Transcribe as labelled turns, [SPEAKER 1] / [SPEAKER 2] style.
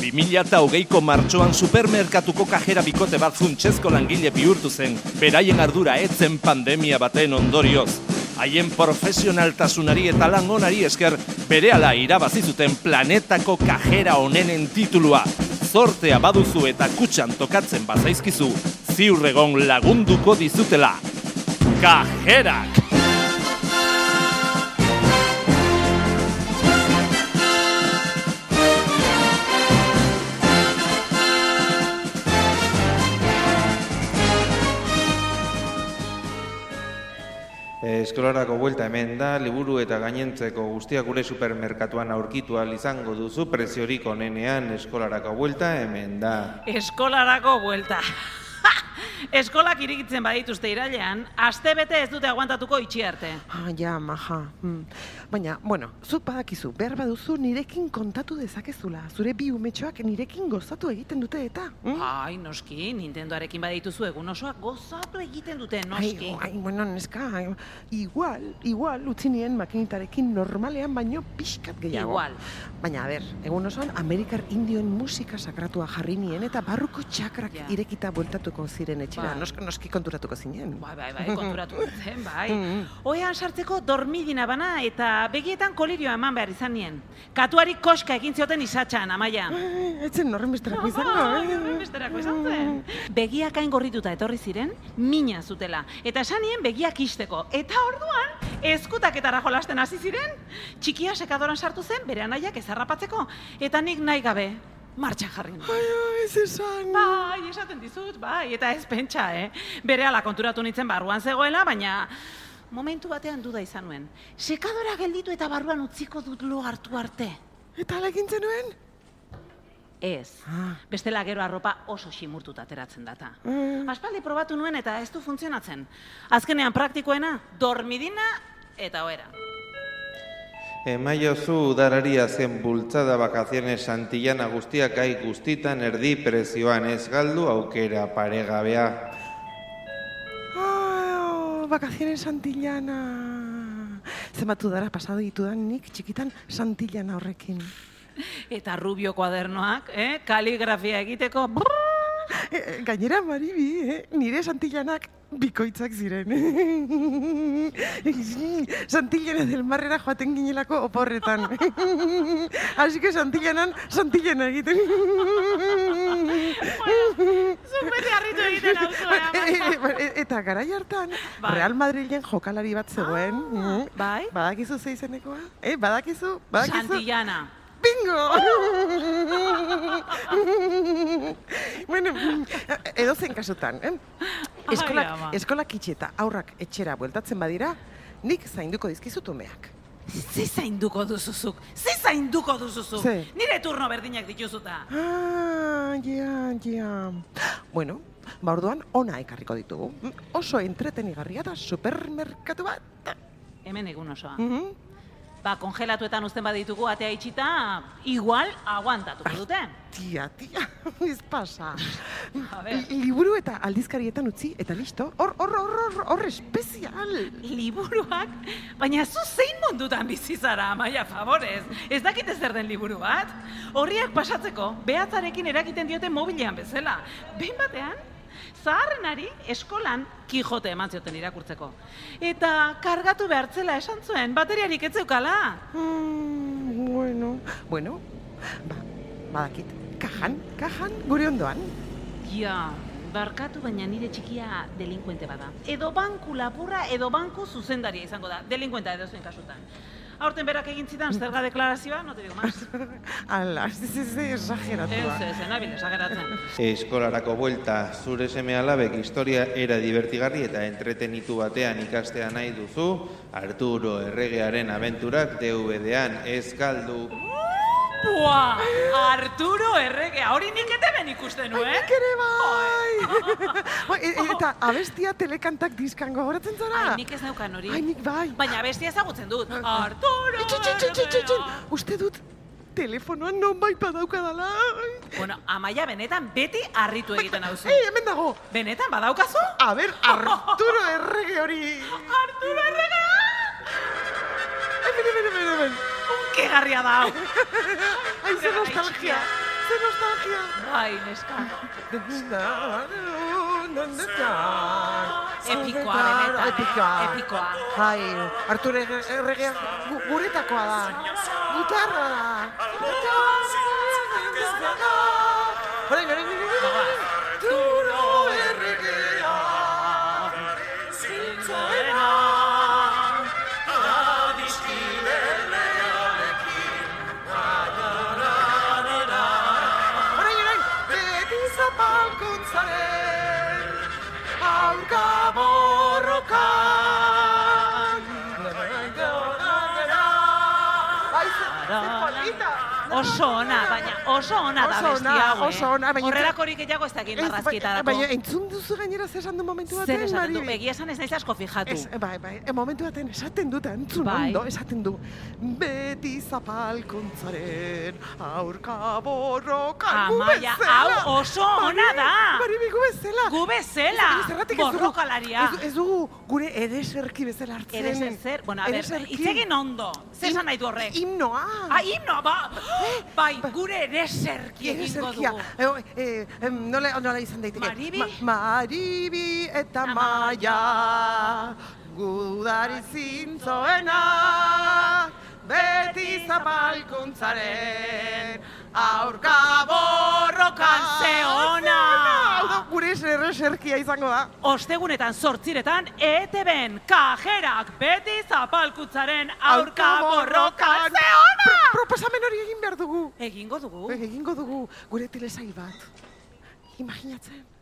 [SPEAKER 1] 2008ko martxoan supermerkatuko kajera bikote bat funtsezko langile bihurtu zen, beraien ardura etzen pandemia baten ondorioz. Haien profesionaltasunari eta lan onari esker berehala irabazi zuten planetako kajera onenen titulua. Zortea baduzu eta kutxan tokatzen bazaizkizu, ziurregon lagunduko dizutela. Kajerak!
[SPEAKER 2] Eskolarako buelta hemen da, liburu eta gainentzeko guztia gure supermerkatuan aurkitu ahal izango duzu, preziorik onenean eskolarako buelta hemen da.
[SPEAKER 3] Eskolarako buelta. Ha! Eskolak irikitzen badituzte irailean, astebete ez dute aguantatuko itxi arte.
[SPEAKER 4] Ah, ja, maja. Mm. Baina, bueno, zuk badakizu, behar baduzu nirekin kontatu dezakezula. Zure bi umetxoak nirekin gozatu egiten dute eta. mm?
[SPEAKER 3] Ai, noski, Nintendoarekin badituzu egun osoak gozatu egiten dute, noski.
[SPEAKER 4] Ai, ai, bueno, neska, ai, igual, igual utzi nien makinitarekin normalean baino pixkat gehiago.
[SPEAKER 3] Igual.
[SPEAKER 4] Baina, a ber, egun osoan Amerikar Indioen musika sakratua jarri nien eta barruko txakrak
[SPEAKER 3] Ja.
[SPEAKER 4] irekita bueltatuko ziren etxera.
[SPEAKER 3] Bai.
[SPEAKER 4] Noski, noski konturatuko zinen.
[SPEAKER 3] Bai, bai, bai, konturatu zen, bai.
[SPEAKER 4] Mm-hmm.
[SPEAKER 3] Oean sartzeko dormidina bana eta begietan kolirioa eman behar izan nien. Katuari koska egin zioten isatxan, amaia.
[SPEAKER 4] Etzen horren besterako izango,
[SPEAKER 3] Ai,
[SPEAKER 4] eh?
[SPEAKER 3] horrenbesterako izan zen. Begiak hain gorrituta etorri ziren, mina zutela. Eta esan nien begiak isteko. Eta orduan, ezkutaketara jolasten hasi ziren. Txikia sekadoran sartu zen, bere anaiak ezarrapatzeko. Eta nik nahi gabe, martxan jarri nuen.
[SPEAKER 4] Ai, ai, ez esan.
[SPEAKER 3] Bai, esaten dizut, bai, eta ez pentsa, eh? Bere ala konturatu nintzen barruan zegoela, baina momentu batean duda izan nuen. Sekadora gelditu eta barruan utziko dut lo hartu arte.
[SPEAKER 4] Eta ala egintzen nuen?
[SPEAKER 3] Ez.
[SPEAKER 4] Ah.
[SPEAKER 3] Bestela gero arropa oso ximurtuta ateratzen data.
[SPEAKER 4] Mm.
[SPEAKER 3] Aspaldi probatu nuen eta ez du funtzionatzen. Azkenean praktikoena, dormidina eta ohera.
[SPEAKER 2] Emaiozu udarari zen bultzada bakaziones Santillana guztiak gai guztitan erdi prezioan ez galdu aukera paregabea.
[SPEAKER 4] Oh, vacaciones Santillana. Zenbat udara pasado ditudan nik txikitan Santillana horrekin.
[SPEAKER 3] Eta rubio kuadernoak, eh, kaligrafia egiteko,
[SPEAKER 4] E, e, gainera, Maribi, eh? nire Santillanak bikoitzak ziren. Santillana del Marrera joaten ginelako oporretan. Así que Santillanan, Santillana egiten.
[SPEAKER 3] zuk beti harritu egiten hauzu, eh, amaia?
[SPEAKER 4] E- e- Eta garai hartan,
[SPEAKER 3] Bai.
[SPEAKER 4] Real Madrilen jokalari bat zegoen. mm.
[SPEAKER 3] bai.
[SPEAKER 4] Badakizu ze izenekoa? Eh, badakizu, badakizu.
[SPEAKER 3] Santillana.
[SPEAKER 4] Bingo! bueno, edo zen kasutan, eh? Eskolak,
[SPEAKER 3] Ai, ama.
[SPEAKER 4] eskolak itxi eta aurrak etxera bueltatzen badira, nik zainduko dizkizut umeak.
[SPEAKER 3] Ze zainduko duzuzuk? Ze zainduko duzuzuk?
[SPEAKER 4] Ze.
[SPEAKER 3] Nire turno berdinak dituzuta.
[SPEAKER 4] Ah, ja, ja. Bueno, ba orduan ona ekarriko ditugu. Mm, Oso entretenigarria da supermerkatu bat.
[SPEAKER 3] Hemen egun osoa.
[SPEAKER 4] Mhm.
[SPEAKER 3] Ba, kongelatuetan uzten baditugu atea itxita, igual aguantatuko dute.
[SPEAKER 4] Tia, tia, ez pasa.
[SPEAKER 3] A ber.
[SPEAKER 4] Li- Liburu eta aldizkarietan utzi, eta listo. Hor, hor, hor, hor, hor, espezial.
[SPEAKER 3] Liburuak? Baina zu zein mundutan bizi zara, Amaia, favorez. Ez dakite zer den liburu bat? Horriak pasatzeko, behatzarekin erakiten diote mobilean bezala. Behin batean, zaharrenari eskolan Quijote eman zioten irakurtzeko. Eta kargatu behartzela esan zuen, bateriarik etzeukala.
[SPEAKER 4] Mm, bueno, bueno, ba, badakit, kajan, kajan, gure ondoan.
[SPEAKER 3] Ja, barkatu baina nire txikia delinkuente bada. Edo banku lapurra, edo banku zuzendaria izango da, delinkuenta edo zuen kasutan. Aurten berak egin zidan zerga deklarazioa, no te digo más.
[SPEAKER 4] Ala, ez, ez, eh. ez,
[SPEAKER 3] Ez, eh?
[SPEAKER 4] esageratua.
[SPEAKER 3] ez, enabil, esageratzen.
[SPEAKER 2] Eskolarako buelta, zure seme alabek historia era divertigarri eta entretenitu batean ikastea nahi duzu, Arturo Erregearen abenturak DVD-an ez galdu.
[SPEAKER 3] Bua! Arturo Erregea, hori nik eteben ikusten eh? nuen.
[SPEAKER 4] Nik ere bai! Ba, e- e- eta abestia telekantak diskan gogoratzen zara?
[SPEAKER 3] Ai, nik ez neukan hori.
[SPEAKER 4] Ai, nik bai.
[SPEAKER 3] Baina bestia ezagutzen dut. Arturo
[SPEAKER 4] Itxin, itxin, itxin, itxin, itxin.
[SPEAKER 3] Erregea.
[SPEAKER 4] Uste dut telefonoan nonbait badaukadala.
[SPEAKER 3] Bueno, amaia benetan beti harritu egiten hauzu.
[SPEAKER 4] Ei, hemen dago!
[SPEAKER 3] Benetan badaukazu?
[SPEAKER 4] A ber, Arturo errege hori!
[SPEAKER 3] Arturo Erregea!
[SPEAKER 4] Hemen, hemen, hemen, hemen!
[SPEAKER 3] Unkegarria da hau.
[SPEAKER 4] Ai, ze nostalgia! Ze nostalgia!
[SPEAKER 3] Bai, neska. Epikoa, benetan.
[SPEAKER 4] Epikoa.
[SPEAKER 3] Epikoa.
[SPEAKER 4] Jai, Artur erregea gu- guretakoa da. Gutarra da. Orain, orain, orain. Arturo erregea. Zintzoena. Orain, orain. Beti zapalkuntzaren aurka borrokan. Ai, ze, ze polita.
[SPEAKER 3] Oso ona, baina oso ona da
[SPEAKER 4] Oso ona,
[SPEAKER 3] besti hau, eh?
[SPEAKER 4] oso ona, baina-
[SPEAKER 3] Horrelakorik gehiago ez dakit
[SPEAKER 4] Ez, baina-
[SPEAKER 3] marrazkietarako.
[SPEAKER 4] Baina entzun duzu gainera zer esan du momentu batean,
[SPEAKER 3] Zer esaten du,
[SPEAKER 4] Maribi?
[SPEAKER 3] egia esan ez naiz asko fijatu.
[SPEAKER 4] Ez, bai, bai, e, momentu baten esaten dut, entzun
[SPEAKER 3] Bai.
[SPEAKER 4] ondo, esaten du. Beti zapalkuntzaren aurka borroka gu
[SPEAKER 3] Amaia,
[SPEAKER 4] bezala.
[SPEAKER 3] hau oso ona da.
[SPEAKER 4] Maribi, gu bezala.
[SPEAKER 3] Gu bezala,
[SPEAKER 4] Ez dakit zergatik ez dugu-
[SPEAKER 3] borrokalaria.
[SPEAKER 4] Ez, ez dugu gure edeserki bezala hartzen.
[SPEAKER 3] Eres zer, bueno, a ber,
[SPEAKER 4] Ereserki.
[SPEAKER 3] hitz egin ondo. Zer esan nahi du horrek?
[SPEAKER 4] Himnoa.
[SPEAKER 3] Ah, himno, ba, bai, gure ereserki egingo
[SPEAKER 4] Ereserkia.
[SPEAKER 3] dugu.
[SPEAKER 4] Eh, eh, em, nola, nola izan daiteke.
[SPEAKER 3] Maribi?
[SPEAKER 4] maribi eta
[SPEAKER 3] Eta
[SPEAKER 4] maia, gudari zintzoena, beti zapalkuntzaren aurka borrokan
[SPEAKER 3] Ze ona!
[SPEAKER 4] Hau da, Gure ereserkia izango da.
[SPEAKER 3] Ostegunetan sortziretan ETB-en kajerak beti zapalkutzaren aurka borroka ze
[SPEAKER 4] Pro,
[SPEAKER 3] ona!
[SPEAKER 4] proposamen hori egin behar dugu.
[SPEAKER 3] Egingo dugu.
[SPEAKER 4] Egingo dugu gure telesail bat. Imaginatzen.